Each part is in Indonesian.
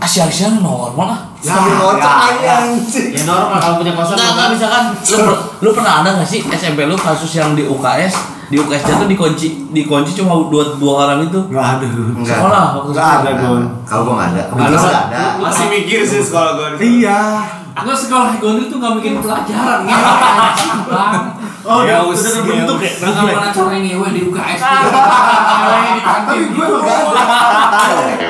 Asia-Asia kan normal lah. Sambil ngocok aja anjing. Ya normal kalau punya kosan Enggak, enggak normal. misalkan lu, per- lu pernah ada gak sih SMP lu kasus yang di UKS di UKS itu dikunci dikunci cuma dua dua orang itu Enggak ada. Enggak. sekolah waktu Enggak ada, Gon. Kalau gua nggak ada, Nggak kebetulan ada. nggak ada. Masih mikir sih sekolah gue. Iya. Enggak sekolah gondel tuh enggak bikin pelajaran ya. Oh, Ya, udah us- udah terbentuk ya. Nah, terbentuk ya? gimana caranya iya. ngewe di UKS? Caranya Tapi di kantin. gitu. gue enggak ada.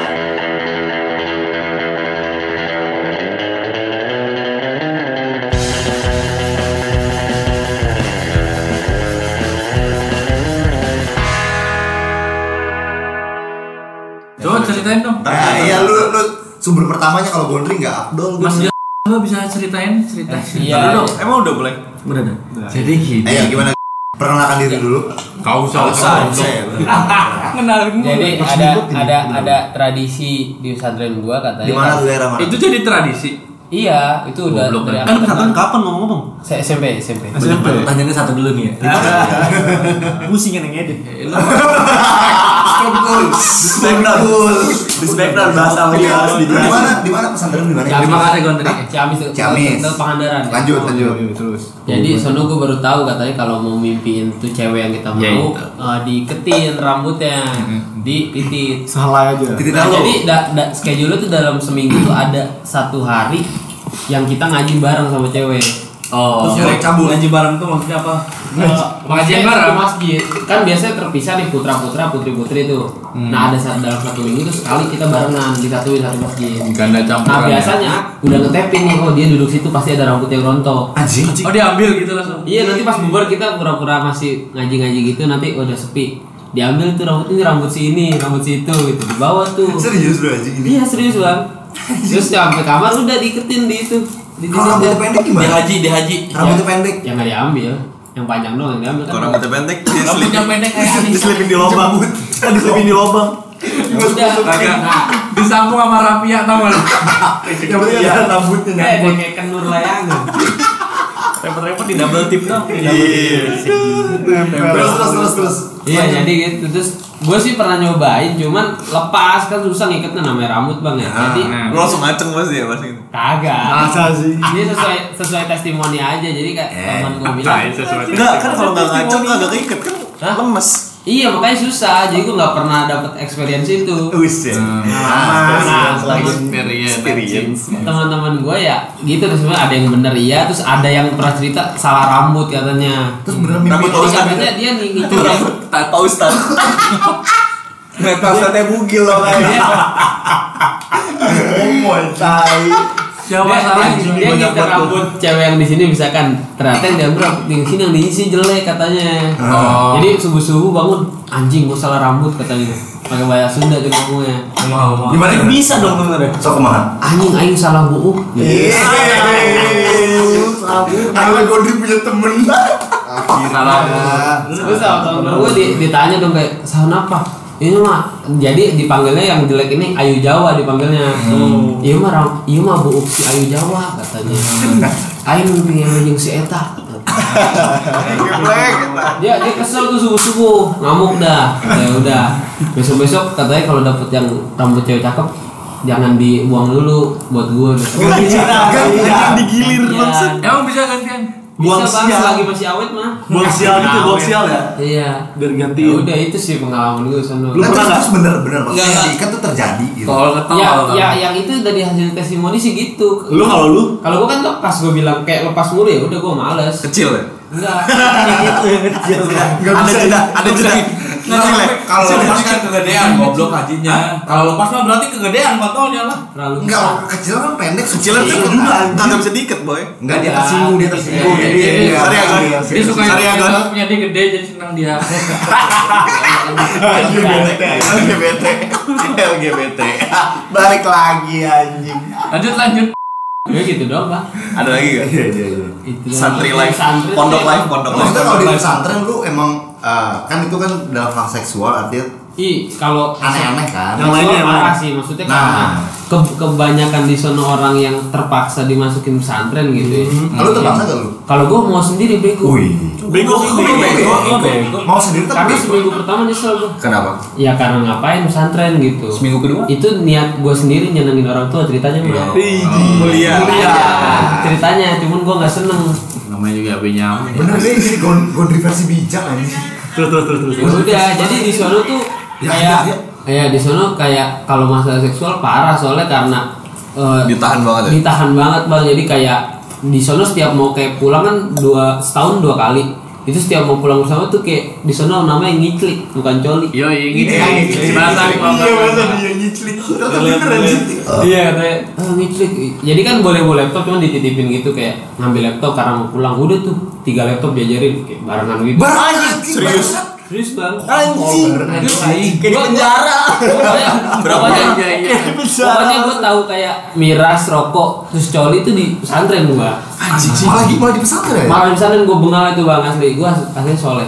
Coba ceritain dong. Nah, iya lu lu sumber pertamanya kalau Gondri nggak Abdul. Mas Dia lu bisa ceritain cerita. Iya. Dulu dong. Emang udah boleh? Bener dong. Jadi gini. Ayo Eh, gimana? Perkenalkan diri dulu. Kau usah Saya. kenalin gua. Jadi ada ada ada tradisi di pesantren gua katanya. Di mana tuh daerah mana? Itu jadi tradisi. Iya, itu udah Goblok, dari kan? Kan angkatan- pesantren kapan ngomong-ngomong? Saya SMP, SMP. SMP. Pertanyaannya satu dulu nih ya. Pusing kan yang ngedit. Struktur. Struktur. Dispektral bahasa Tapi Inggris harus harus Di dijelasin. mana? Di mana pesantren di mana? Ya, Terima kasih Gondri. Ciamis, Ciamis. Del Pangandaran. ya. Lanjut, lanjut. Terus. Jadi sono gue baru tahu katanya kalau mau mimpiin tuh cewek yang kita mau Ya, itu. eh, diketin rambutnya, Mm-hmm. dipitit. Salah aja. Titik Nah, tahu. jadi da, da, schedule tuh dalam seminggu tuh ada satu hari yang kita ngaji bareng sama cewek. Oh, Terus gua cabut. Ngaji bareng tuh maksudnya apa? Pengajian Iya, Pengajian bareng? masjid eh, kan biasanya terpisah nih putra putra putri putri tuh. Hmm. Nah ada saat dalam satu minggu tuh sekali kita barengan disatuin satu masjid. Ganda kan ya? campuran. Nah biasanya udah ngetepin nih oh dia duduk situ pasti ada rambut yang rontok. Anjing. Oh diambil gitu langsung. Iya nanti pas bubar kita pura-pura masih ngaji-ngaji gitu nanti udah sepi diambil tuh rambut ini rambut si ini rambut si itu gitu dibawa tuh Serius lu anjing ini. iya serius bang terus sampai kamar udah diiketin di itu di di Kalau rambutnya pendek Di gimana? haji, di haji. Rambutnya pendek. yang nggak diambil yang panjang doang yang diambil kan Kalau rambutnya pendek, dia Rambutnya selipin. pendek kayak Anissa. Diselipin di lubang. Kan diselipin di lubang. udah nah Disambung sama Rafia tau gak lu? Yang penting ada rambutnya. eh dia kayak kenur layangan Repot-repot di double tip dong. Terus terus terus terus. iya jadi gitu terus gue sih pernah nyobain cuman lepas kan susah ngikatnya namanya rambut bang ya jadi Lu langsung ngaceng pasti ya pasti. kagak Masa sih? ini sesuai sesuai testimoni aja jadi kayak Eh, teman gue bilang Enggak, kan kalau nggak ngaceng nggak keiket kan lemes. Iya makanya susah, jadi gue nggak pernah dapet experience itu. Wis ya. Hmm. Ah, Nah, Experience. teman-teman gue ya gitu terus sebenarnya ada yang bener iya, terus ada yang pernah cerita salah rambut katanya. Terus beneran mimpi. Rambut Jadi katanya dia nih gitu Iya. ya. Tanpa ustaz. Kereta ustadnya bugil loh kayak. Omoy. Tai. Siapa salah dia ngikat rambut cewek yang di sini misalkan ternyata yang diambil rambut yang sini yang diisi jelek katanya. Oh. Jadi subuh subuh bangun anjing gue salah rambut katanya pakai bahasa Sunda tuh ngomongnya. Gimana? gimana? Bisa dong bener ya. Sok kemana? Anjing anjing salah Uh, gitu. buuk. Iya. Karena Gondri punya temen Terus sama temen gue di- ditanya dong kayak sahun apa? Ini mah jadi dipanggilnya yang jelek ini Ayu Jawa dipanggilnya. Iya mah ram, iya mah bu si Ayu Jawa katanya. Ayu mimpi yang anjing si Eta. Dia dia kesel tuh subuh subuh ngamuk dah. Ya udah besok besok katanya kalau dapet yang rambut cewek cakep jangan dibuang dulu buat gue. Oh, Gantian digilir langsung. Emang bisa kan, gantian? Buang Bisa bang sial. lagi masih awet mah. Buang sial gitu, buang sial ya. Iya. Biar ganti. Ya udah itu sih pengalaman gue sama. Lu pernah Terus bener-bener Enggak, maksudnya enggak. diikat tuh terjadi gitu Tol ke tol. ya, ya, yang itu dari hasil testimoni sih gitu. Lu kalau lu Kalau gua kan lepas gua bilang kayak lepas mulu ya udah gua males. Kecil ya. Enggak. Enggak bisa jeda, ada jeda. Kecil ya. Kalau lepas kan kegedean goblok hajinya. Kalau lepas mah berarti kegedean kontolnya lah. Terlalu Enggak, kecil kan pendek Kecilan tuh Kecil juga kan. kagak bisa diiket boy. Enggak, dia tersinggung, dia tersinggung Iya, Jadi iya, iya. dia- Sorry, Agon. Iya, Dia suka Sorry, yang Agon. punya dia gede jadi senang dia. LGBT LGBT LGBT Balik lagi anjing Lanjut lanjut. Ya gitu doang, Bang. Ada lagi gak? Iya, iya, iya Itu doang. Santri life, Santri pondok tuh life, emang- pondok life. Maksudnya kalau di pesantren lu emang eh, Kan itu kan dalam hal seksual artinya i kalau aneh-aneh kan Yang lainnya Solo emang. parah sih maksudnya Nah. karena ke- kebanyakan di sono orang yang terpaksa dimasukin pesantren gitu ya. lu terpaksa gak lu Kalau gue mau sendiri bego. Bego Lu bego, lu bego. mau sendiri Karena tapi seminggu pertama nyesel gue. Kenapa? Ya karena ngapain pesantren gitu. Seminggu kedua? Itu niat gue sendiri nyenengin orang tua ceritanya mah. Mulia. Iya. Ceritanya cuman gue nggak seneng. Namanya juga HP nyampe. bener deh jadi gon- gondri versi bijak anjing Terus terus terus terus. Ya udah jadi di sono tuh Ya, kayak ya, ya di sono kayak kalau masalah seksual parah soalnya karena eh, Ditahan banget ya? ditahan banget bang jadi kayak di sono setiap mau kayak pulang kan dua setahun dua kali itu setiap mau pulang bersama tuh kayak di sono namanya ngiclik bukan coli Iya. Yo, yang ini. Iya, Bahasa bahasa. dia nyiclik ternyata bener anjing Iya, kayak Eh, ngiclik jadi kan boleh bawa laptop cuman dititipin gitu kayak ngambil laptop karena mau pulang udah tuh tiga laptop diajarin kayak barengan gitu Bar anjing serius serius bang anjing kayak di penjara Pokoknya- Berapa pokoknya- aja iya. Pokoknya gue tahu kayak miras, rokok, terus coli itu di pesantren Iya. gue anjing sih malah malah di pesantren ya Malah di pesantren gue bengal itu bang asli Gue asli soleh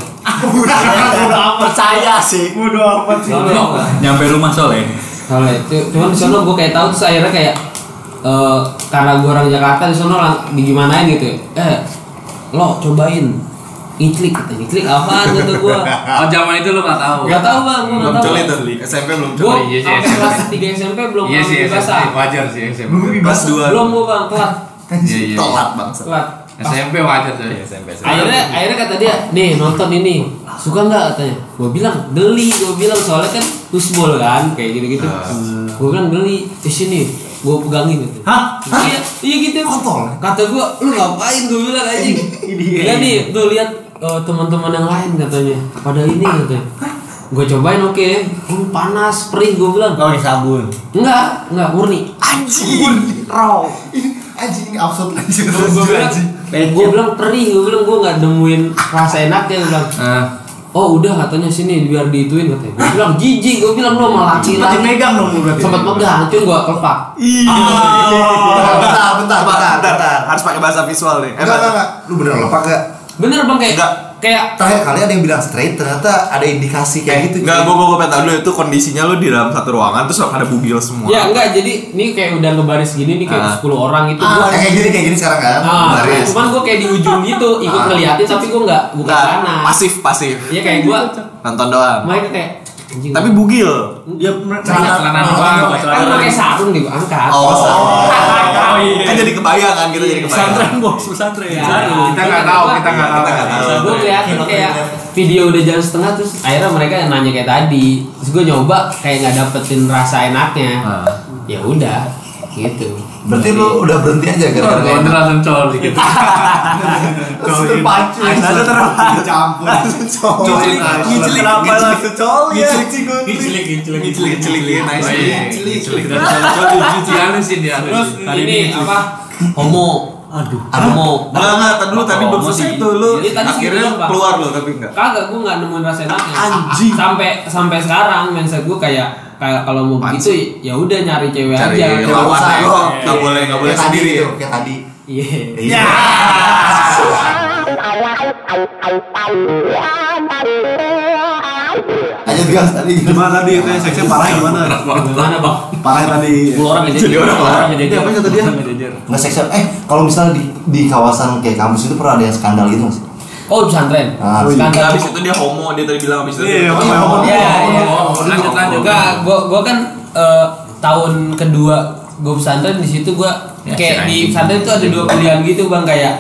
percaya sih Soleh gua. Nyampe rumah soleh. Soleh ya. Cu- Cuman di sana gue kayak tahu terus akhirnya kayak eh, Karena gue orang Jakarta di sana lang- digimanain gitu ya Eh lo cobain Ngiklik kata ngiklik apaan gitu gue Oh, zaman itu lu nggak tahu. Gak tau bang gue Belum gak tau coli tuh, Li. SMP belum Gue coli. Iya sih, sampai SMP. kelas 3 SMP belum Iya sih, ngambil SMP. bahasa Wajar sih SMP. belum bebas Kelas dua. Belum gue bang, telat Iya, anjing iya. telat bangsa Telat SMP wajar tuh. SMP. akhirnya akhirnya kata dia nih nonton ini suka nggak katanya gue bilang geli gue bilang soalnya kan usbol kan kayak gitu gitu Ah. gue bilang geli di sini gue pegangin gitu Hah? ya? iya iya gitu Kontol. kata gue lu ngapain gue bilang anjing iya nih tuh lihat eh, teman-teman yang lain katanya pada ini katanya gue cobain oke Gua panas perih gue bilang Kau disabun. enggak enggak murni anjing raw ini anjing ini absurd anjing gue bilang gue bilang perih gue bilang gue nggak nemuin rasa enaknya gue bilang Ah. oh udah katanya sini biar diituin katanya gue bilang jijik gue bilang Iya. lo malah laki Sempat laki dipegang dong lu berarti. sempat megang cuy gue kelepak Iya. bentar bentar bentar bentar Bentar, bentar. Harus pakai bahasa visual nih. Eh, enggak enggak enggak lu bener lepak gak bener bang kayak Enggak. kayak terakhir kali ada yang bilang straight ternyata ada indikasi kayak gitu Enggak, gua gua gua pengen tahu dulu itu kondisinya lu di dalam satu ruangan terus ada bugil semua. Nah, ya enggak jadi ini kayak udah ngebaris gini nih Ah. eh, kayak 10 orang itu Ah, gue kayak gini kayak gini sekarang kan ah, baris cuman gue kayak di ujung Ah. gitu ikut ngeliatin tapi gue nggak bukan Enggak, panas pasif, pasif. iya kayak gue Nonton doang. mereka kayak anjing, Tapi bugil. Ya celana- Celana apa? kan gue pakai sarung nih gue angkat Oh, Oh, iya. Kan jadi kebayang kan kita jadi kebayang. bos pesantren. Ya, Kita nggak tahu, kita nggak tahu. Kita nggak tahu. gue ngeliatin kayak video udah jalan setengah terus akhirnya mereka yang nanya kayak tadi terus gue nyoba kayak nggak dapetin rasa enaknya ya udah gitu berarti lu udah berhenti aja gara-gara Kalau nggak ini enak. langsung col gitu. terus terpacu Ada terpacu. campur Coli, Ngicilik kenapa langsung Oh, coli iya, ya? Ngicilik, ngicilik, Ngicilik, ngicilikin aja. Oh, iya. Ngicilik. Ngicilik. Dan col-col dihalusin, dihalusin. terus ini apa homo aduh homo Enggak, enggak, tadi dulu tadi belum selesai tuh lu. Jadi tadi Akhirnya segitu doang, Pak. keluar lu tapi enggak. kagak gue nggak nemuin rasa enaknya Anjing. sampai sampai sekarang mindset gue kayak kayak kalau mau begitu ya udah nyari cewek Cari aja lawan usah, ya. bro. Enggak boleh, enggak boleh kayak Iya, tadi sendiri. tuh, kayak tadi iya iya aja gas tadi Gimana tadi itu ya, seksnya parah gimana? gimana bang Parah tadi. Lu orang Jadi orang lah. jadi Apa kata dia? nggak seksual eh kalau misalnya di di kawasan kayak kampus itu pernah ada yang skandal gitu nggak sih oh pesantren Ah, Enggak, skandal habis itu dia homo, dia tadi bilang habis itu. Iya, dia- iya. Iya, Oh, Iya, iya. Oh, lanjut, lanjut. Enggak, gua gua kan eh, tahun kedua gua pesantren di situ gua Ya, kayak di si Oh, anjing. pesantren tuh ada dua pilihan gitu bang kayak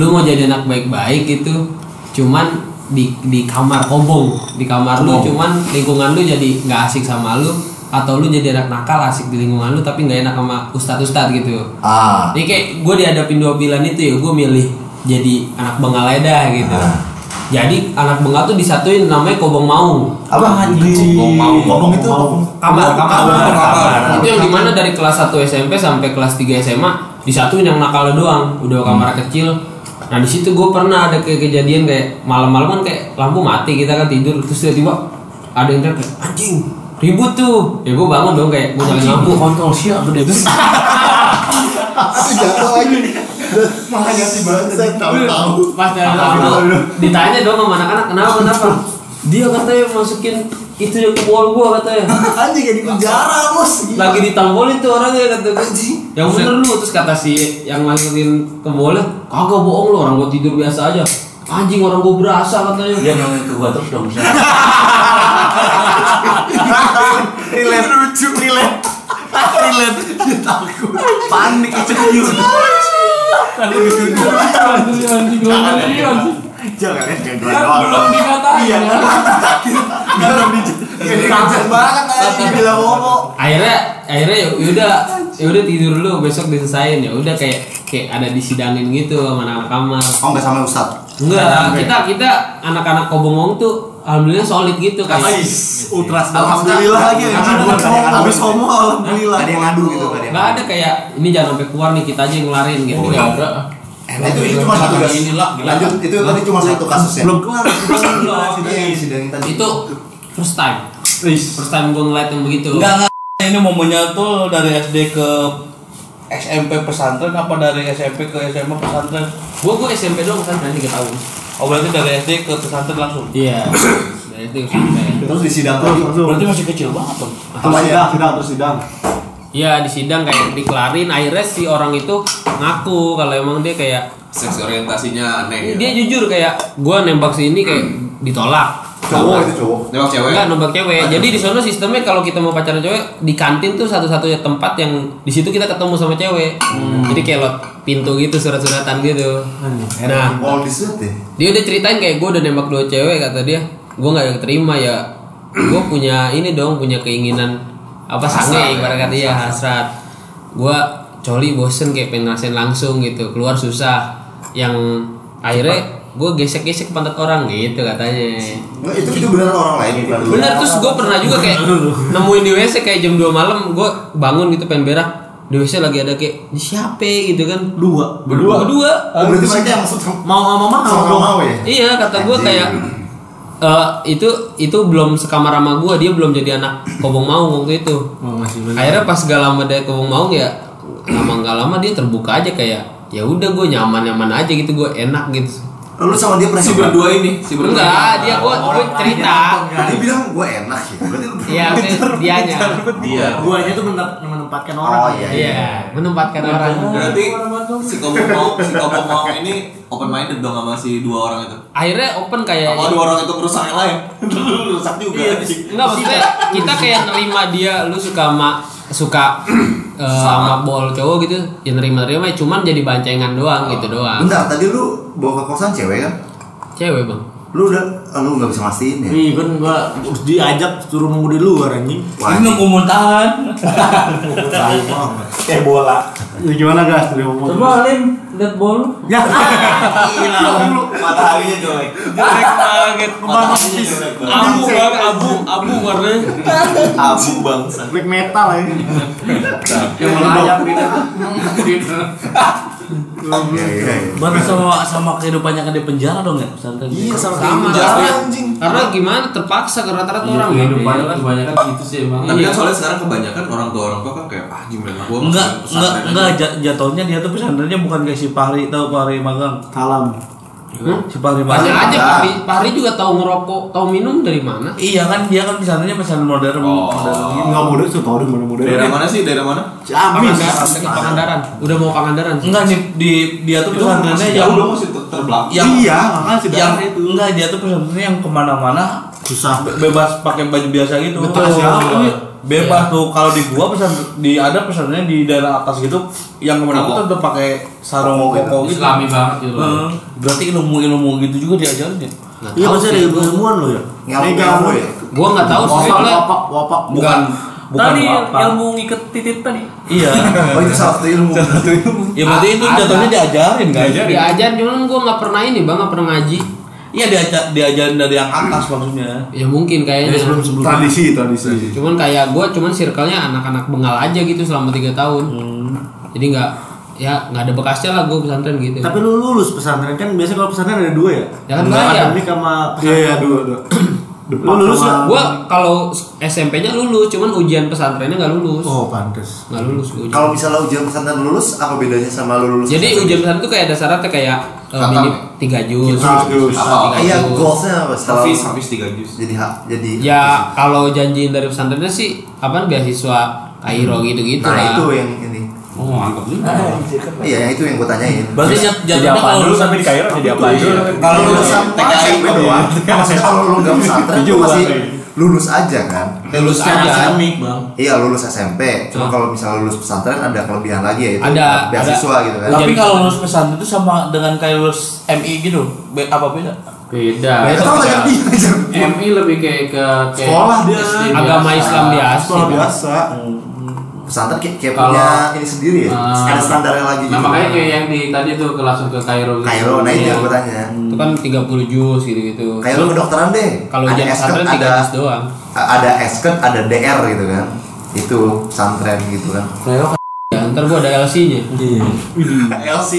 lu mau jadi anak baik-baik gitu, cuman di di kamar kobong di kamar lu cuman lingkungan lu jadi nggak asik sama lu atau lu jadi anak nakal asik di lingkungan lu tapi nggak enak sama ustadz ustadz gitu ah jadi kayak gue dihadapin dua pilihan itu ya gue milih jadi anak bengal aja dah gitu Ah. jadi anak bengal tuh disatuin namanya kobong maung apa anjing mau. ngomong itu kamar kamar Kamar, kamar. itu yang dimana dari kelas 1 SMP sampai kelas 3 SMA disatuin yang nakal doang udah kamar kecil nah di situ gue pernah ada kayak kejadian kayak malam-malam kan kayak lampu mati kita kan tidur terus tiba-tiba ada yang teriak kayak, anjing ribut tuh ya gue bangun dong kayak gue nyalain lampu kontrol siapa deh? Aku jatuh lagi. Makanya si banget tahu-tahu. pas nyalain lampu ditanya dong sama anak-anak kenapa kenapa dia katanya masukin itu yang ke bol gua katanya Anjing ya di penjara bos. lagi ditampolin tuh orangnya kata gua yang bener lu terus kata si yang masukin ke bola kagak bohong lu orang gua tidur biasa aja anjing orang gua berasa katanya Dia nongol ke gua terus dong. Shay. Relate lucu relate. Relate. Takut. Panik insecure. Jangan ya kayak Kan gua doang. belum dikatain Iya. ya. Belum dijel- Iya, dia kaget banget anjing bila ngomong. akhirnya akhirnya ya udah ya udah tidur dulu besok diselesain ya udah kayak kayak ada disidangin gitu sama anak kamar Oh nggak sama Ustad. enggak kita kita anak-anak kobongong tuh alhamdulillah solid gitu kayak Ultras Alhamdulillah alhamdulillah lagi lagi, anjing. anjing. Homo, Habis homo alhamdulillah. Ada yang ngadu gitu kan ya. nggak ada kayak ini jangan sampai keluar nih kita aja yang ngelarin gitu iya. Enggak ada. Emang Eh, itu itu cuma satu Lagi kasus. ini lah, gila. Lanjut itu tadi cuma satu kasus ya. Belum kelar. Itu yang sidang tadi. itu first time first time gue ngeliat yang begitu Enggak enggak. Ini momennya tuh dari SD ke SMP pesantren apa dari SMP ke SMA pesantren? gue gue SMP doang kan berarti tiga tahun Oh berarti dari SD ke pesantren langsung. iya dari itu SMP terus di sidang tadi. Berarti masih kecil banget dong. Terus sidang, sidang, terus sidang. Iya di sidang kayak dikelarin akhirnya si orang itu ngaku kalau emang dia kayak Seks ya. orientasinya aneh. Iya, dia jujur kayak gua nembak si ini kayak ditolak Cowok itu cowok. Nembak cewek. enggak nembak cewek jadi di sana sistemnya kalau kita mau pacaran cewek di kantin tuh satu-satunya tempat yang di situ kita ketemu sama cewek jadi kayak lot pintu gitu surat-suratan gitu Nah, nah mau disuat deh. dia udah ceritain kayak gue udah nembak dua cewek kata dia gue nggak terima ya gue punya ini dong punya keinginan apa sange ibarat kata ya hasrat gue coli bosen kayak pengen ngerasain langsung gitu keluar susah yang akhirnya gue gesek-gesek pantat orang gitu katanya Nggak, Nah, itu itu benar orang lain bukan lu. bener terus gue pernah juga kayak nemuin di wc kayak jam 2 malam gue bangun gitu pengen berak di wc lagi ada kayak "Ini siapa gitu kan Dua. berdua berdua Oh, berarti mereka yang maksud Mau sama mau sama dong. mau ya. Iya kata gue Anjing. kayak eh, itu itu belum sekamar sama gue dia belum jadi anak kobong maung waktu itu. Akhirnya pas gak lama dari kobong maung ya lama gak lama dia terbuka aja kayak ya udah gue nyaman nyaman aja gitu gue enak gitu. Lu sama dia pernah si coba? berdua ini, si berdua. Enggak dia gue gue cerita. Nah, Dia bilang gue enak ya. Berarti lu Iya dianya. Iya. Guanya tuh menem- menempatkan orang. Oh iya. Iya menempatkan orang. Berarti si Kobo mau, si Kobo mau ini open minded dong sama si dua orang itu. Akhirnya open kayak Kalau dua orang itu merusak yang lain, rusak juga. Enggak maksudnya kita kayak nerima dia lu suka sama suka eh, sama bol cowok gitu ya nerima nerima cuman jadi bancengan doang gitu doang Iya. Bentar, tadi lu bawa ke kosan cewek kan? cewek bang Lu udah lu nggak bisa mastiin ya. Nih, kan gua diajak suruh nunggu di luar anjing. Wah, Ini nunggu muntahan. anjing, bang. Kayak bola. Ya gimana gas dari homo? Lim, lihat bol. Ya. Gila. Mataharinya jelek. Jelek banget. Mataharinya jelek banget. Abu bang, abu, abu warnanya. Abu bangsa. Black metal ya. Yang melayang di Iya, iya, iya. Berarti sama sama kehidupannya kan di penjara dong ya pesantren. Iya sama kayak Sama, penjara tapi- anjing. karena gimana terpaksa ke rata-rata Iya, ya. orang kehidupannya kan kebanyakan gitu sih emang Tapi kan soalnya sekarang kebanyakan orang tua orang tua kan kayak ah gimana gua Enggak, mesti enggak, pesantren enggak aja." ja- jatuhnya dia tuh pesantrennya bukan kayak si Fahri tahu Fahri magang. Salam. Iya. Si Fahri banyak magang. aja Pahri Pahri juga tahu ngerokok tahu minum dari mana Iya kan dia kan pesantrennya pesantren modern. Oh. modern gitu. Enggak mudah tuh tahu mana mudah. Daerah mana sih? Daerah mana? Ciamis. Pangandaran dekat Pangandaran udah mau Pangandaran Enggak nih di dia tuh pesantrennya masih yang jauh dong masih ter- terbelakang. yang Iya, makanya si yang daerah itu. enggak dia tuh pesantrennya yang kemana-mana Susah. be- bebas pakai baju biasa gitu. Betul. Iya. Bebas tuh kalau di gua pesantren di ada pesantrennya di daerah atas gitu yang kemana-mana tuh tetap pakai sarung koko gitu. Islami banget gitu Eh, berarti ilmu-ilmu gitu juga diajarin ya? Iya pasti ada ilmu ilmuwan lo ya. Ngelmu- Mega ngelmu ilmu ya? gua nggak tahu sih Wapak, soalnya wapak, wapak. Bukan bukan Tadi apa. ilmu ngikat titit tadi. Iya. Oh itu salah satu ilmu. Ya berarti itu Ada. jatuhnya diajarin kan? diajar cuman gua nggak pernah ini bang nggak pernah ngaji Iya diajar diajarin dari yang atas maksudnya. ya mungkin kayaknya Tradisi, tradisi. cuman kayak gue cuman circle-nya anak-anak bengal aja gitu selama tiga tahun jadi nggak ya nggak ada bekasnya lah gue pesantren gitu Tapi lu lulus pesantren kan biasanya kalau pesantren ada dua ya? Ya kan Enggak, banyak. akademik sama Iya iya dua dua. Lu lulus nggak? gue kalau SMP-nya lulus cuman ujian pesantrennya nggak lulus Oh, pantes. nggak lulus gua ujian. Kalau misalnya ujian pesantren lulus, apa bedanya sama lu lulus? jadi ujian pesantren tuh kayak ada syaratnya kayak eh, minim- tiga jus. Tiga jus. Apa, tiga Iya, jus. goalsnya apa? Setelah Hafiz, Hafiz tiga jus. jadi hak jadi Ya kalau janjiin dari pesantrennya sih apa beasiswa Kairo gitu-gitu nah lah. itu yang ini Oh, mantap juga. iya yang itu yang gue tanyain Hmm. Berarti jat- jatuhnya kalau Iya. lulus sampai di Kairo jadi apa dulu? kalau lu Iya, sama TKI SMP doang maksudnya kalau lu nggak pesantren lu Tujuan, masih iya. lulus aja kan Iya, Lulus aja. Akademik bang. iya lulus SMP cuma Hah? kalau misalnya lulus pesantren ada kelebihan lagi ya itu Ada, Iya, beasiswa ada. gitu kan Tapi Jadi- kalau lulus pesantren itu sama dengan kayak lulus MI gitu, be- apa beda? Beda. itu apa yang dia aja Iya. MI lebih kayak ke kayak Sekolah dia. SD biasa. Agama Islam biasa. Sekolah biasa. pesantren kayak, kayak Kalau- punya ini sendiri ya Ah. ada standarnya lagi Nah gitu makanya kayak yang di tadi tuh ke langsung ke Kairo. gitu. Kairo nah itu Iya. yang gue tanya Itu kan 30 jus gitu-gitu. Kairo kedokteran deh Kalau ada ujian pesantren esket 3 ada jus doang. ada esket ada DR gitu kan itu pesantren gitu kan Ya, ntar gua ada LC-nya. LC,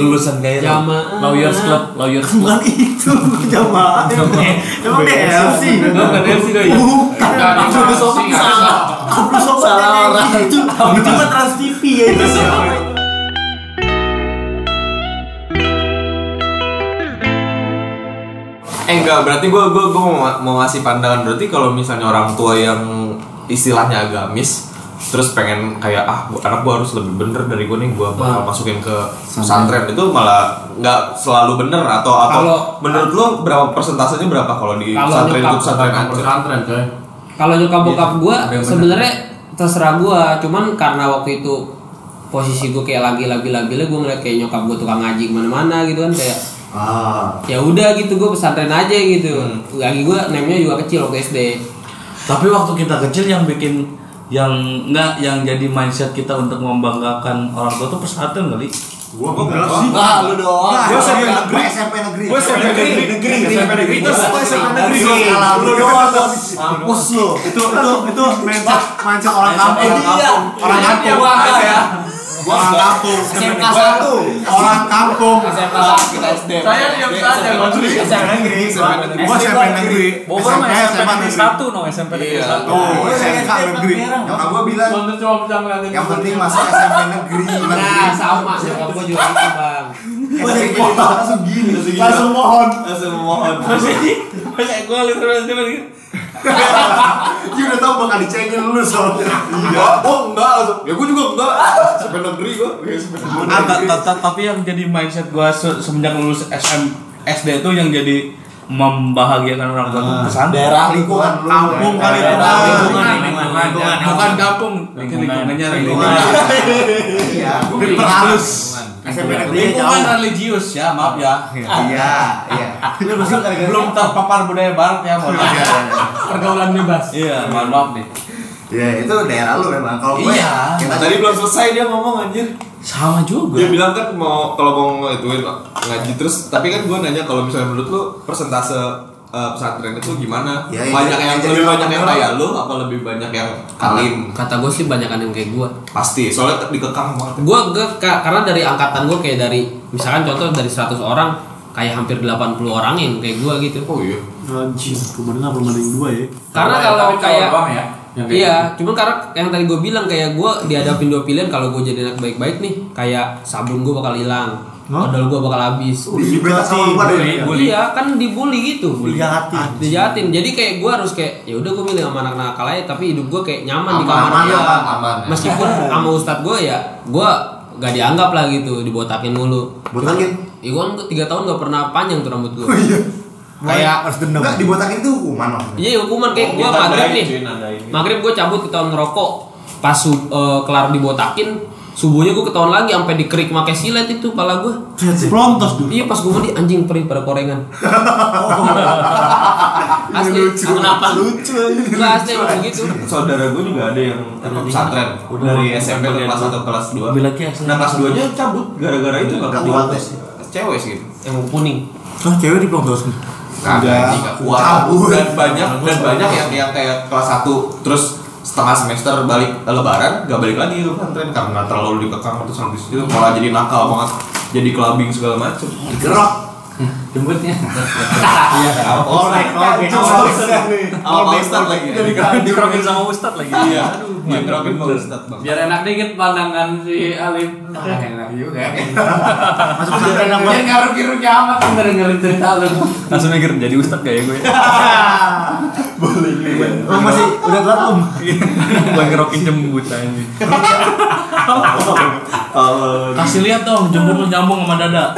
Lulusan Kairo. Jamaah. Lawyers Club, Lawyers Club. Bukan itu jamaah. Emang DLC. Bukan LC doi. Uh, Bukan. Nggak ya? ada Abdul Sofi nggak ada. salah. Abdul Sofi salah orang itu. Itu mah Trans TV ya itu siapa? Eh enggak, berarti gue gua, gua mau, mau ngasih pandangan berarti kalau misalnya orang tua yang istilahnya agamis terus pengen kayak ah gua- anak gue harus lebih bener dari gue nih gue Hmm. bakal masukin ke pesantren itu malah nggak selalu bener atau atau Kalau- menurut lo berapa persentasenya berapa kalau di Kalau pesantren itu nyokap- pesantren ancur Pesantren coy. Kalau Iya, nyokap bokap gua sebenarnya terserah gua, cuman karena waktu itu posisi gua kayak lagi lagi lagi gua ngeliat kayak nyokap gua tukang ngaji kemana mana gitu kan kayak ah Hmm. ya udah gitu gua pesantren aja gitu. Lagi gua namanya juga kecil waktu SD. Tapi waktu kita kecil yang bikin yang enggak yang jadi mindset kita untuk membanggakan orang tua tuh pesantren kali. Gua enggak sih. Wah, lu doang. Gua SMP Gue negeri. SMP negeri. Gua SMP negeri. Negeri. SMP negeri. Terus gua SMP negeri. Lu doang bos. Mampus lu. Itu itu itu mindset mindset orang kampung. Iya. Orang kampung. Gua enggak ya. Orang kampung. SMK Gua- Orang kampung. Kita SD. Saya diam saja, Iya, Bang. negeri. Gua SMP negeri. Bogor mah iya. SMP SMA negeri negeri. satu no SMP negeri Iya. Oh, satu. Tuh, SMK negeri. Nyokap gue bilang Bang, cuma bisa ngeliatin. yang penting masuk SMP negeri. Nah, sama nyokap gua juga gitu, Bang. SMP langsung gini. Langsung mohon. Masa gue lihat terus terus gitu. Dia udah tau bakal dicengin lu soalnya. Iya, oh enggak langsung. Ya gue juga enggak. Sampai negeri gue. Iya, Ah, ta- ta- ta- tapi yang jadi mindset gua se- semenjak lulus SM SD itu yang jadi membahagiakan orang tua tuh pesantren. Daerah lingkungan Iya, lu. Kampung kali itu. Daerah Bang. lingkungan, lingkungan, Lingkungan, lingkungan. lingkungan. Bukan kampung, bikin lingkungannya lingkungan. Iya. Diperhalus. SMP negeri Lingkungan jauh. religius ya, maaf ya. Iya. Iya. Belum terpapar budaya barat ya, mohon maaf. Pergaulan bebas. Iya, mohon maaf nih. Iya itu daerah lu memang. Kalau gue Iya. kita Tadi belum selesai dia ngomong anjir. Sama Dia juga. bilang kan mau kalau mau ngituin ngaji terus, tapi kan gue nanya kalau misalnya menurut lu persentase eh, pesantren itu gimana? Ya, ya, banyak ya, yang ya, lebih jadi banyak yang orang. kayak lu apa lebih banyak yang kalim? Kata gua sih banyak yang kayak gua. Pasti, soalnya dikekang banget. gue karena dari angkatan gue kayak dari misalkan contoh dari 100 orang kayak hampir 80 orang yang kayak gue gitu Oh iya. Anjing, kemarin apa kemarin dua ya? karena Tapi kalau cowok kayak doang ya. yang kayak iya cuman karena yang tadi gue bilang kayak gue dihadapin dua pilihan kalau gue jadi anak baik-baik nih kayak sabun gue bakal hilang Hah? modal gue bakal habis Dibebas sama lu pada. Bully, bully. iya kan dibully gitu Dijahatin. dijahatin jadi kayak gue harus kayak ya udah gue milih sama anak nakal aja tapi hidup gue kayak nyaman di Aman, kamar aman, dia aman, aman. meskipun sama ustadz gue ya gue gak dianggap lah gitu dibotakin mulu Botakin. Iya gua kan tiga tahun gak pernah panjang tuh rambut Oh, Oh, gua. iya. Kayak harus dendam. Enggak iya. dibotakin itu hukuman loh. iya hukuman Oh, kayak gua maghrib nih. Maghrib gua cabut ketahuan ngerokok. Pas su- eh, kelar dibotakin, subuhnya gua ketahuan lagi sampai dikerik pakai silet itu pala gua. Plontos dulu. Iya pas gua mandi anjing perih pada korengan. Oh, Iya, asli kenapa lucu? Enggak asli emang gitu. begitu. Saudara gue juga ada yang anak pesantren dari SMP ke kelas 1 kelas 2. Bila kayak Nah, kelas 2-nya cabut gara-gara itu enggak Nggak kuat. kuat. Cewek sih gitu. Yang kuning. Lah oh, cewek di plontos nih. Kagak nggak kuat Kabur. dan banyak dan banyak yang yang kayak kelas 1 terus setengah semester balik eh, lebaran gak balik lagi ke pesantren karena terlalu dikekang terus habis itu malah jadi nakal banget jadi clubbing segala macem Digerok. Jembutnya. All right, all right. Sama Ustadz lagi Dikerokin sama ustad lagi. iya aduh main Dragon Ball Biar enak dikit pandangan si Alif. Ah, enak juga. Masuk pesantren apa? Biar nggak rugi-rugi amat denger dengerin cerita lu. Langsung mikir jadi ustad kayak gue. iya, Oh, masih udah telat belum? Gue ngerokin jembut aja. Kasih lihat dong jembut lu nyambung sama dada.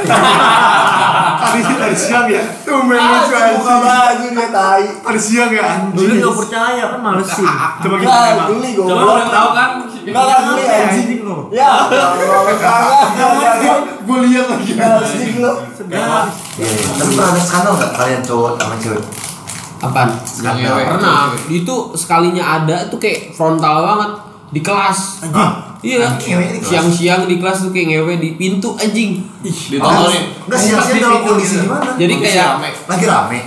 Tadi tadi siang ya. Tumben lucu Ah, Buka baju dia tai. Tadi siang ya Dulu anjing. nggak percaya kan malesin. Coba kita Nah, emang. geli Coba lu goblok. yang tahu kan? Enggak enggak geli anjing. lu. Ya, Allah, jangan. Gue lihat lagi. Anjing lu. Iya, Tapi pernah ada skandal nggak kalian cowok sama cewek? Apaan? Yang cewek. Pernah. Itu sekalinya ada itu kayak frontal banget di kelas. Hah? Iya. Anjing, ngewe di kelas? Siang-siang di kelas tuh kayak ngewe di pintu anjing. Ditontonin. Enggak siang-siang dalam kondisi gimana? Jadi kayak Lagi rame.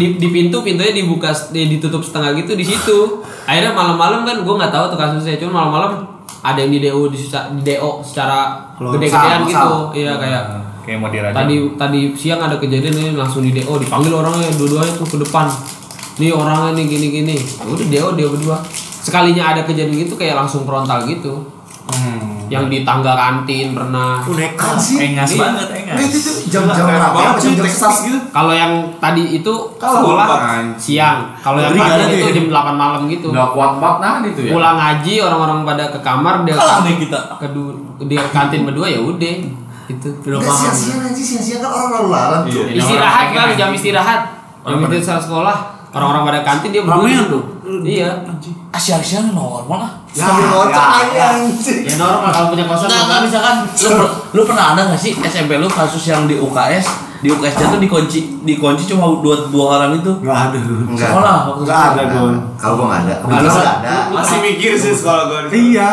di, di pintu pintunya dibuka di- ditutup setengah gitu di situ akhirnya malam-malam kan gue nggak tahu tuh kasusnya cuma malam-malam ada yang di do di, sisa- di do secara Sama, gede-gedean gitu sama. iya kayak Nah, Kayak mau dirajam. tadi tadi siang ada kejadian ini langsung di do dipanggil orangnya dua-duanya tuh ke depan nih orangnya nih gini-gini Ya udah do dia berdua sekalinya ada kejadian gitu kayak langsung frontal gitu Hmm. yang di tangga kantin pernah Anjing. engas Iya. banget engas. Itu tuh jam-jam rame apa jam-jam sesat gitu? kalau yang tadi itu Sekolah. siang kalau yang Ngeri nggak ada kantin tuh itu ya? jam 8 malam gitu Udah kuat banget nah itu ya. pulang ngaji orang-orang pada ke kamar dia Kalah deh kita. kedua dia ke kantin berdua ya udah itu Enggak sia-siang anjing, sia-siang kan orang lalu lalang tuh. istirahat Orang kan pengen jam ngaji. istirahat jam pada- ya? istirahat sekolah orang-orang pada kantin dia Ramean tuh iya Asia-Asia normal lah. Sambil ngocok aja anjing. ya normal kalau punya Enggak, kosan enggak normal. misalkan lu, per- lu pernah ada nggak sih SMP lu kasus yang di UKS di UKS jatuh dikunci dikunci cuma dua dua orang itu Enggak ada. Enggak. sekolah waktu Enggak ada, Gon. Kalau gua enggak ada, kebetulan enggak ada. Masih mikir sih sekolah gue. Iya.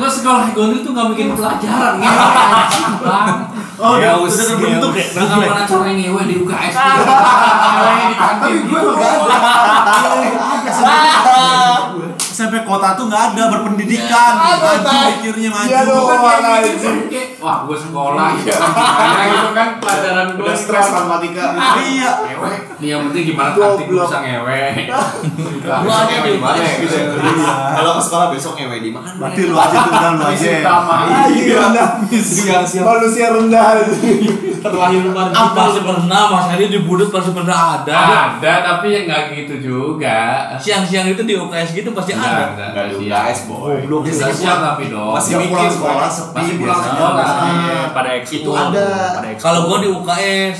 Gue sekolah gondri tuh nggak bikin pelajaran ya. Oh, Ya, udah udah udah terbentuk terbentuk ya. Gimana caranya ngewe di UKS? Ah, Caranya di kantin. Tapi gitu. gua enggak ada. SMP kota tuh enggak ada Ah. berpendidikan. Maju pikirnya maju. Iya dong, mana anjing. Kayak, Wah, gue sekolah ya. Gimana gitu kan pelajaran gue stres Ah, Iya. ngewe. Nih yang penting gimana taktik gue bisa ngewe. Lu Gua ada ngewe di di gitu mana? mana? ya? Kalau ke sekolah besok ngewe di mana? Berarti lu aja tuh udah lu aja. Misi utama. Anjing rendah. Manusia rendah anjing. terlahir baru pasti pernah Mas Heri di Budut pasti pernah ada Ada tapi ya nggak gitu juga. siang-siang itu di UKS gitu pasti ada Enggak, Enggak enggak di siang. UKS, boy. Dia siang tapi dong. Masih Dia mikir pulang sekolah sepi Masih pulang biasa. sekolah. Iya. pada ekskul Itu ada. kalau gua di UKS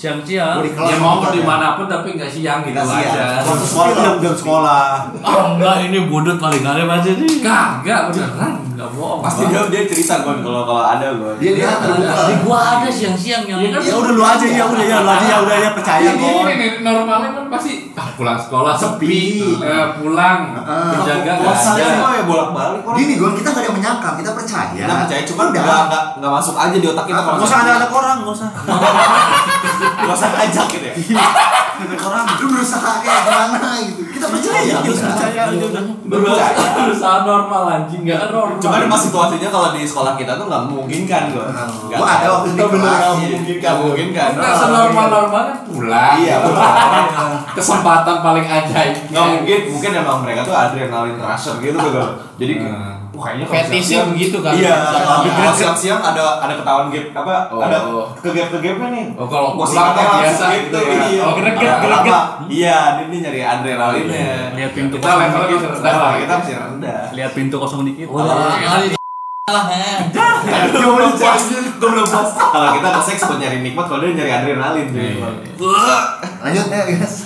siang-siang Gua di kelas Ya mau kebetulan. dimanapun tapi nggak siang gitu Nggak aja. siang. Waktu sekolah tuh jam jam sekolah. ah enggak ini Budut paling kali pasti nih Kagak beneran, nggak bohong. Pasti dia dia cerita gue kalau kalau ada gue. Dia dia terbuka. di gua ada siang-siang yang Iya kan? Ya udah lu aja ya udah ya lu aja ya udah ya percaya Ini Gon. ini nih, normalnya kan pasti ah, pulang sekolah sepi, Ah. Sepi. eh, pulang penjaga nggak Bosan ada. semua. ya bolak-balik orang. Gini Gon, kita gak ada yang menyangka, kita percaya. Kita Ya, percaya cuman udah. enggak enggak enggak masuk aja di otak kita kalau Gak usah ada anak orang, gak usah. Gak usah ajak gitu ya. Ada orang. iya. Lu berusaha kayak gimana gitu. Kita percaya. Kita udah. Ya, percaya aja udah. Percaya. Berusaha normal anjing nggak normal. Cuman emang situasinya kalau di sekolah kita tuh nggak kan, memungkinkan gue. Gua ada waktu di kelas. Nggak memungkinkan. Nggak memungkinkan. nggak kan. Nah, senormal normalnya pulang. Iya. bener. Kesempatan paling ajaib. Nggak mungkin, mungkin emang mereka tuh adrenalin rusher gitu tuh. Jadi wah, kayaknya kalau Fetishnya gitu siang-siang- begitu kan? Iya, Iya. kalau siang-siang ada ada ketahuan gap apa ada ke gap-gapnya nih. Oh kalau Wah, pulang kan siang-siang biasa gitu, gitu ya. iya. Oh greget Apa- greget. apa- Iya, dia dia nyari adrenalinnya. lihat pintu kan? Kita kosong dikit levelnya masih rendah. Level kita masih rendah. lihat pintu kosong dikit Udah kali lah eh. Gue belum puas, gue belum puas. Kalau kita ke seks buat nyari nikmat, kalau dia nyari adrenalin. Iya, cuy. Lanjut ya guys.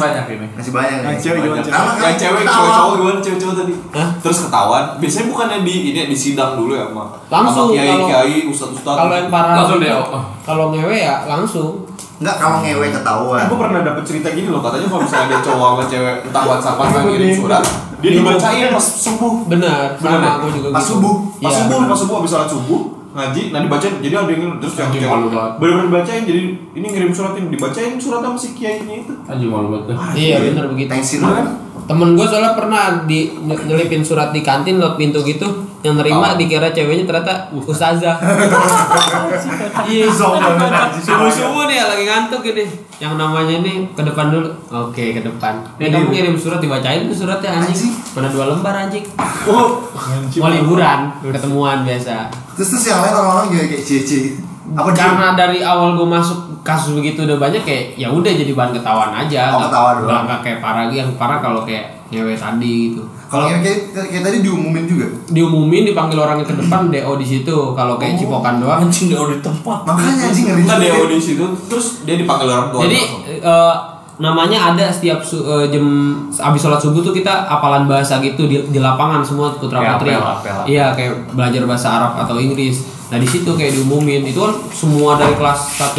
Banyak ini. Masih banyak nih. Yang cewek gimana, cewek? Pertama Yang kan cewek, ketawa. cowok cowok gimana cewek cowok tadi? Terus ketahuan. Biasanya bukannya di ini di sidang dulu ya, Mak? Langsung, Sama kiai kalau- kiai ustadz ustadz. kalau yang parah Langsung gitu, deh. oh. kalau ngewe ya langsung Enggak kalau ngewe ketahuan. Gue Nah, Eh, pernah dapet cerita gini loh, katanya kalau misalnya ada cowok sama cewek entah whatsappan sama ngirim surat, dia dibacain pas subuh. benar Bener ya? sama aku juga Pas gitu. subuh. Pas Iya. subuh, pas subuh abis sholat subuh ngaji, nah dibacain, jadi ada yang ngirim terus yang Anjing, cewek malu banget. bener-bener dibacain, jadi ini ngirim surat ini dibacain surat sama si kiainya itu. Anjing malu banget. iya benar begitu Tensi lu kan Temen gue soalnya pernah di ny- nyelipin surat di kantin lewat pintu gitu yang nerima dikira ceweknya ternyata ustazah. Iya, subuh subuh nih lagi ngantuk ini. Yang namanya ini ke depan dulu. Oke, ke depan. Ini kamu ngirim surat dibacain tuh suratnya anjing. Oh. Pernah dua lembar anjing. Mau liburan, ketemuan biasa. Terus terus yang lain orang-orang juga kayak cie Apa dia? karena dari awal gue masuk kasus begitu udah banyak kayak ya udah jadi bahan ketahuan aja Oh, ketawa doang. Nggak- nggak kayak parah yang parah kalau kayak ngewe tadi gitu Kalau kayak, kayak, kayak tadi diumumin juga. diumumin dipanggil orangnya ke depan do di situ kalau kayak Oh. cipokan doang Anjing udah di tempat. Makanya anjing ngeri. Enggak dia juga. di situ gitu, terus dia dipanggil orang tua. jadi eh, namanya ada setiap su- eh, jam abis sholat subuh tuh kita apalan bahasa gitu di, di lapangan semua putra Kayak putri apel, apel, apel. iya kayak belajar bahasa Arab atau Inggris nah di situ kayak diumumin itu kan semua dari kelas 1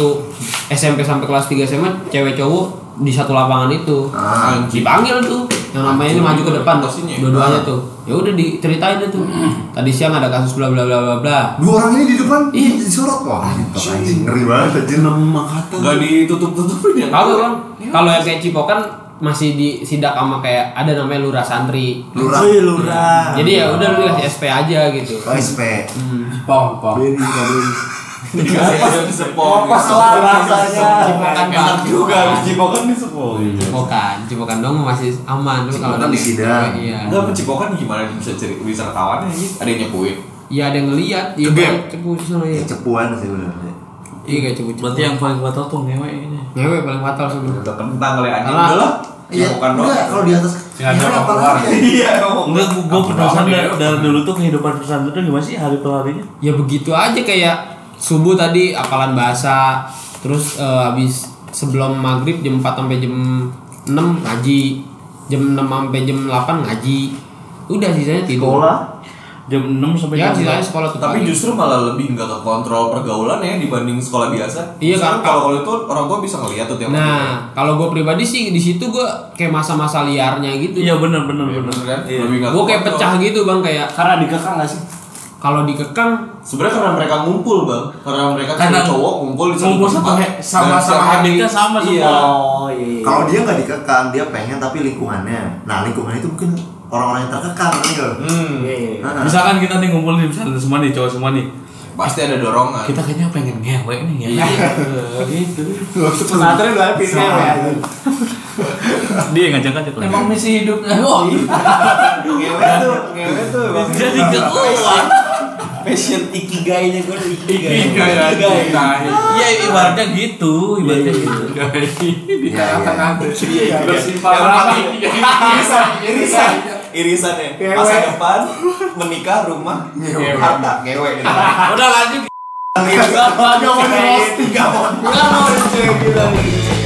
SMP sampai kelas 3 SMA cewek cowok di satu lapangan itu Ah, dipanggil tuh yang namanya ini maju ke depan Pastinya. dua-duanya tuh ya udah diceritain deh tuh Hmm. tadi siang ada kasus bla bla bla bla bla Dua orang ini di depan Iya. disorot wah. gitu, Anjing ngeri banget anjing. enggak ditutup-tutupin ya. Iya. Kagak bang, kalau yang kayak cipokan masih disidak sama kayak ada namanya lurah santri. Iya. Lurah. Wih, lurah. Jadi ya udah lu kasih SP aja gitu. Oh, SP. Pong pong. Iya, Dikasih sepong. Selar rasanya. Cipokan bang. Juga Nah, cipokan di sepuluh. Kan Cipokan, cipokan dong masih aman Tapi kalau Cipokan di- disidak. Iya. Enggak pencipokan gimana dia bisa ceri bisa ketahuan ya? Ada yang nyepuin. Iya ada yang ngelihat. Iya Kegep. cepu di sana ya. Cepuan sih sebenarnya. Iya kayak cepu. Iya, Berarti yang paling fatal tuh ngewe ini. ngewe paling fatal sebenarnya. Udah kentang kali anjing. Alah. Udah lah. Iya, Cipokan doang. enggak kalau di atas. Nggak ada Gimana, orang apalagi keluar. ya? Iya. Enggak, gue Apa penasaran banget dari, ya? dari dulu tuh kehidupan pesantren tuh gimana sih hari per harinya? Ya begitu aja kayak subuh tadi apalan bahasa, terus eh, habis sebelum maghrib jam 4 sampai jam 6 ngaji, jam 6 sampai jam 8 ngaji. Udah sisanya tidur. Jam 6 sampai Ya jam sisanya sekolah tuh Tapi pagi. justru malah lebih nggak ke kontrol pergaulan ya dibanding sekolah biasa. Iya, kan? Justru kalau kalau itu orang tua bisa ngeliat tuh tiap hari. Nah, kalau gue pribadi sih di situ gue kayak masa-masa liarnya gitu. Iya benar benar benar. Iya. Bener kan? Lebih nggak Gue kayak kekontrol. pecah gitu bang kayak Karena dikekang nggak sih? kalau dikekang Sebenarnya karena mereka ngumpul bang, karena mereka Karena cowok cowok ngumpul di ngumpul satu tempat. he- sama- Dan setiap sama hari- habitnya sama iya. semua. Oh iya. Kalau dia nggak dikekang, dia pengen tapi lingkungannya. Nah, lingkungannya itu mungkin orang-orang yang terkekang gitu. nih loh. Hmm, Iya, iya. Nah, Misalkan kita nih ngumpul nih pesantren semua nih cowok semua nih. pasti ada dorongan. Iya. Kita kayaknya pengen ngewe nih ya. gitu. Pesantren udah habis ngewe anjing. Dia ngajak ngajak lagi. emang misi hidupnya oh, Ngewe tuh, ngewe tuh. emang. Jadi gak ya, keluar. Passion ikigainya gue ikigai. Iya ibaratnya gitu, ibaratnya gitu. di Iya, tengah-tengah tuh iya. bersimpang Yang rapi paling- irisan, irisan, irisan ya. Ngewe. Masa depan, menikah, rumah, Ngewe. harta, ngewe. Udah lanjut. Gak mau di roasting, gak mau. Gak mau di cewek gila nih.